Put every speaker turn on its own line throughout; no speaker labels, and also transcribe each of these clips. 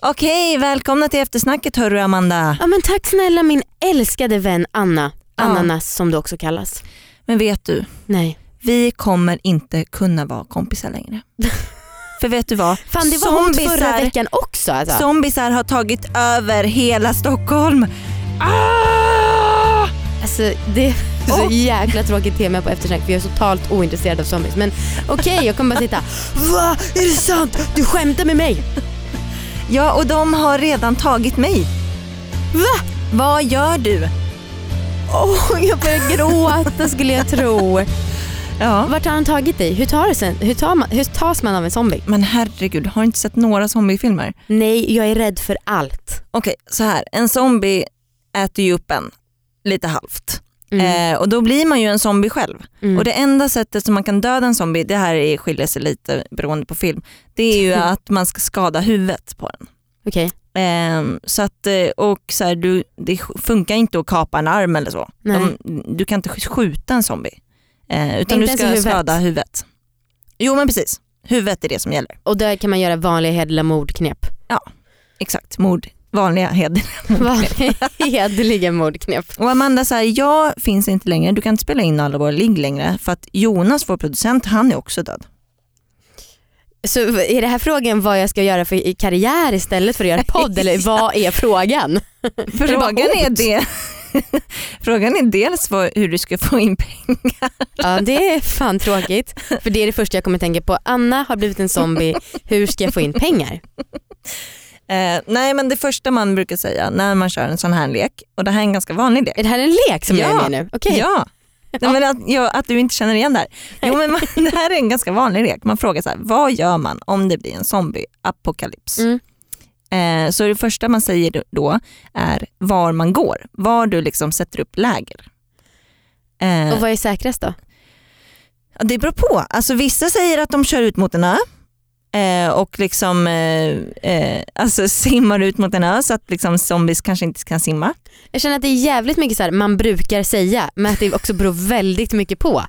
Okej, välkomna till eftersnacket hörru Amanda.
Ja, men tack snälla min älskade vän Anna, Ananas som du också kallas.
Men vet du,
Nej.
vi kommer inte kunna vara kompisar längre. För vet du vad?
Fan det var hon förra veckan också alltså.
zombisar har tagit över hela Stockholm. Ah!
alltså det är så
Och-
jäkla tråkigt tema på eftersnack för jag är totalt ointresserad av zombies. Men okej jag kommer bara sitta Va? Är det sant? Du skämtar med mig?
Ja, och de har redan tagit mig. Va? Vad gör du?
Åh jag börjar gråta skulle jag tro.
Ja.
Vart har han tagit dig? Hur, tar det sen? Hur, tar man, hur tas man av en zombie?
Men herregud, har du inte sett några zombiefilmer?
Nej jag är rädd för allt.
Okej, så här. En zombie äter ju upp en lite halvt.
Mm.
Eh, och då blir man ju en zombie själv.
Mm.
Och det enda sättet som man kan döda en zombie, det här är- skiljer sig lite beroende på film, det är ju att man ska skada huvudet på den.
Okej,
Ehm, så att, eh, och så här, du, det funkar inte att kapa en arm eller så.
Nej.
De, du kan inte sk- skjuta en zombie. Eh, utan
Inte
du
ens
ska
i huvudet.
skada huvudet. Jo men precis, huvudet är det som gäller.
och där kan man göra vanliga hederliga mordknep.
Exakt, mord, vanliga heder.
Vanliga hederliga mordknep.
Och Amanda säger, jag finns inte längre, du kan inte spela in alla våra ligg längre för att Jonas, vår producent, han är också död.
Så är det här frågan vad jag ska göra för i karriär istället för att göra podd eller vad är frågan? det bara
Frågan är,
ont?
det, frågan är dels vad, hur du ska få in pengar.
Ja det är fan tråkigt för det är det första jag kommer tänka på. Anna har blivit en zombie, hur ska jag få in pengar?
Eh, nej men det första man brukar säga när man kör en sån här lek, och det här är en ganska vanlig lek.
Är det här en lek som jag
Ja.
är med nu? Okej.
Ja. Nej, men att, ja, att du inte känner igen det här. Jo, men man, det här är en ganska vanlig lek. Man frågar så här, vad gör man om det blir en zombieapokalyps?
Mm.
Eh, så det första man säger då är var man går, var du liksom sätter upp läger. Eh,
Och vad är säkrast då?
Ja, Det beror på. Alltså, vissa säger att de kör ut mot en ö eh, och liksom, eh, eh, alltså, simmar ut mot en ö så att liksom, zombies kanske inte kan simma.
Jag känner att det är jävligt mycket så här man brukar säga men att det också beror väldigt mycket på.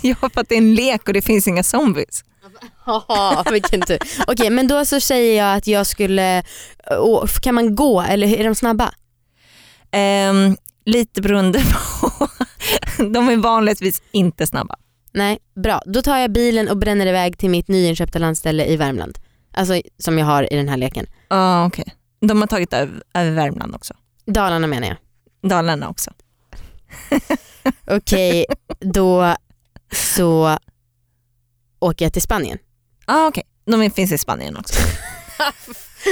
Ja, för att det är en lek och det finns inga zombies.
Haha, vilken tur. Okej men då så säger jag att jag skulle, åh, kan man gå eller är de snabba?
Ehm, lite beroende på. De är vanligtvis inte snabba.
Nej, bra. Då tar jag bilen och bränner iväg till mitt nyinköpta landställe i Värmland. Alltså som jag har i den här leken.
Ah, okay. De har tagit över, över Värmland också.
Dalarna menar jag.
Dalarna också.
Okej, då så åker jag till Spanien.
Ah, okay. De finns i Spanien också.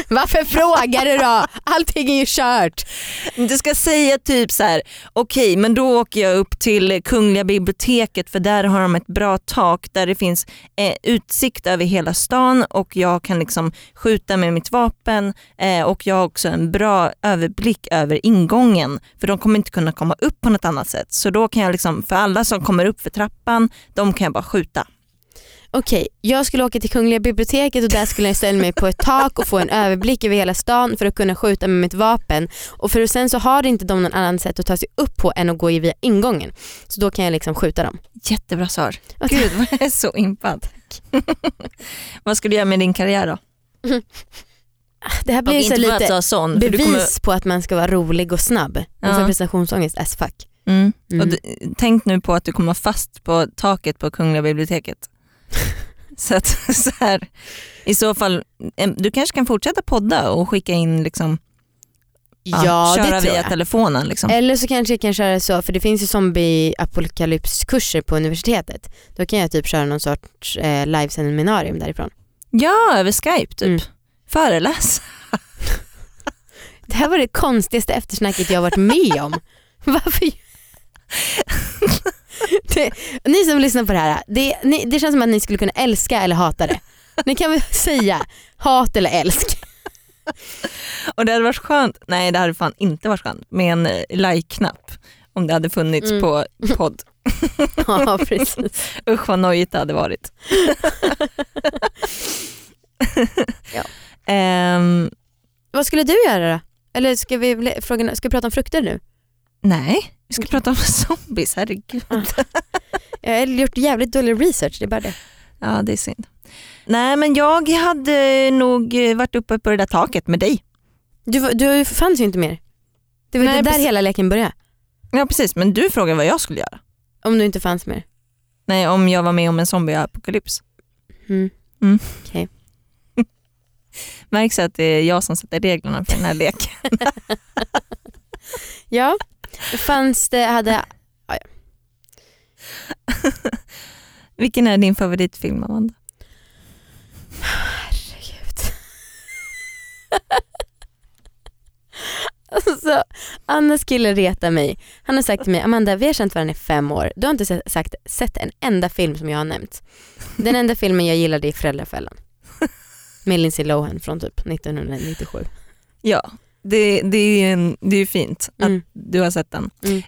Varför frågar du då? Allting är ju kört.
Du ska säga typ så här: okej men då åker jag upp till Kungliga biblioteket för där har de ett bra tak där det finns eh, utsikt över hela stan och jag kan liksom skjuta med mitt vapen eh, och jag har också en bra överblick över ingången för de kommer inte kunna komma upp på något annat sätt. Så då kan jag liksom, för alla som kommer upp för trappan, de kan jag bara skjuta.
Okej, jag skulle åka till Kungliga biblioteket och där skulle jag ställa mig på ett tak och få en överblick över hela stan för att kunna skjuta med mitt vapen. Och för sen så har inte de någon annan sätt att ta sig upp på än att gå via ingången. Så då kan jag liksom skjuta dem.
Jättebra svar.
Och-
Gud vad jag är så impad. vad ska du göra med din karriär då?
Det här
Och
blir så
inte för att
lite
vara sån, Mm, för du
bevis
kommer-
på att man ska vara rolig och snabb. Och
Ja.
för prestationsångest as fuck.
Mm.
Mm.
Och du, tänk nu på att du kommer vara fast på taket på Kungliga biblioteket. så att så här, i så fall, em, du kanske kan fortsätta podda och skicka in liksom, ja,
ja
köra
det tror
via
jag. Eh,
telefonen. Liksom.
Eller så kanske jag kan köra så, för det finns ju zombie-apokalypskurser på universitetet. Då kan jag typ köra någon sorts eh, liveseminarium därifrån.
Ja, över Skype typ.
Mm.
Föreläs.
Det här var det konstigaste eftersnacket jag har varit med om. Varför? det, ni som lyssnar på det här, det, ni, det känns som att ni skulle kunna älska eller hata det. Ni kan väl säga hat eller älsk.
Och det hade varit skönt, nej det hade fan inte varit skönt, med en eh, like-knapp om det hade funnits
Mm.
på podd.
Ja precis.
Usch vad nojigt det hade varit.
Ja.
Ehm,
Vad skulle du göra då? Eller ska vi, le- fråga, ska vi prata om frukter nu?
nej, vi ska prata om zombies, herregud.
Jag har gjort jävligt dålig research, det är bara det.
Ja, det är synd. Nej men jag hade nog eh, varit uppe på det där taket med dig.
Du, var- du fanns ju inte mer. Det var
Nej,
ju där
precis.
hela leken började.
Ja precis men du frågade vad jag skulle göra.
Om du inte fanns mer.
Nej om jag var med om en zombieapokalyps.
Mm.
Märks att det är jag som sätter reglerna för den här leken.
Ja, fanns det, hade,
Vilken är din favoritfilm Amanda?
alltså, Annas kille retar mig. Han har sagt till mig, Amanda vi har känt varandra i fem år. Du har inte se- sagt, sett en enda film som jag har nämnt. Den enda filmen jag gillade är Föräldrafällan. Med Lindsay Lohan från typ 1997.
Ja det, det är ju en, det är ju fint att
Mm.
du har sett den.
Mm.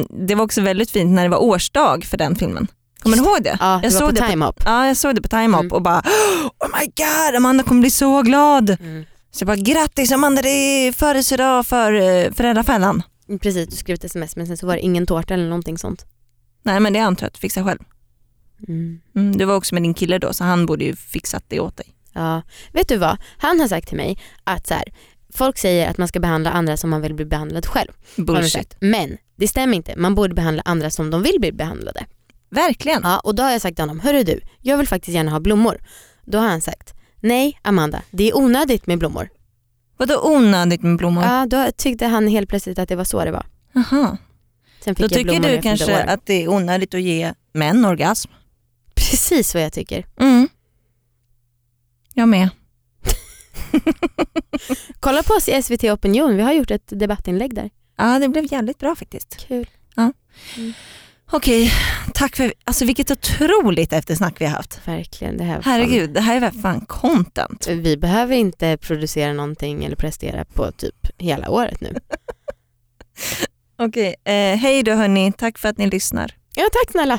Eh, det var också väldigt fint när det var årsdag för den filmen. Kommer du ihåg det?
Ja, det
jag
var
såg
på
det på-
Time Up.
Ja, jag såg det på Time Up
Mm.
och bara oh my god Amanda kommer bli så glad.
Mm.
Så jag bara grattis Amanda det är födelsedag för eh, föräldrafällan.
Precis, du skrev ett sms men sen så var det ingen tårta eller någonting sånt.
Nej men det antar jag att du fixar själv.
Mm.
Mm, du var också med din kille då så han borde ju fixat det åt dig.
Ja. Vet du vad? Han har sagt till mig att så här, folk säger att man ska behandla andra som man vill bli behandlad själv. har han
Bullshit.
sagt. Men det stämmer inte. Man borde behandla andra som de vill bli behandlade.
Verkligen.
Ja, och då har jag sagt till honom, hörru du, jag vill faktiskt gärna ha blommor. Då har han sagt, nej Amanda, det är onödigt med blommor.
Vadå onödigt med blommor?
Ja, då tyckte han helt plötsligt att det var så det var.
Aha.
Sen fick
Då
jag
tycker
blommor
du
efter
kanske
år.
att det är onödigt att ge män orgasm?
Precis vad jag tycker.
Mm. Jag med.
Kolla på oss i SVT Opinion, vi har gjort ett debattinlägg där.
Ja det blev jävligt bra faktiskt.
Kul.
Okej, tack för alltså, vilket otroligt eftersnack vi har haft.
Verkligen. Det här var fan-
Herregud, det här är väl fan content.
Vi behöver inte producera någonting eller prestera på typ hela året nu.
Okej, eh, hej då hörni. Tack för att ni lyssnar.
Ja tack snälla.